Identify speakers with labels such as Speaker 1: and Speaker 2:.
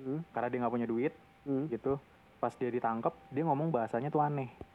Speaker 1: Hmm.
Speaker 2: karena dia nggak punya duit
Speaker 1: Hmm.
Speaker 2: gitu pas dia ditangkap dia ngomong bahasanya tuh aneh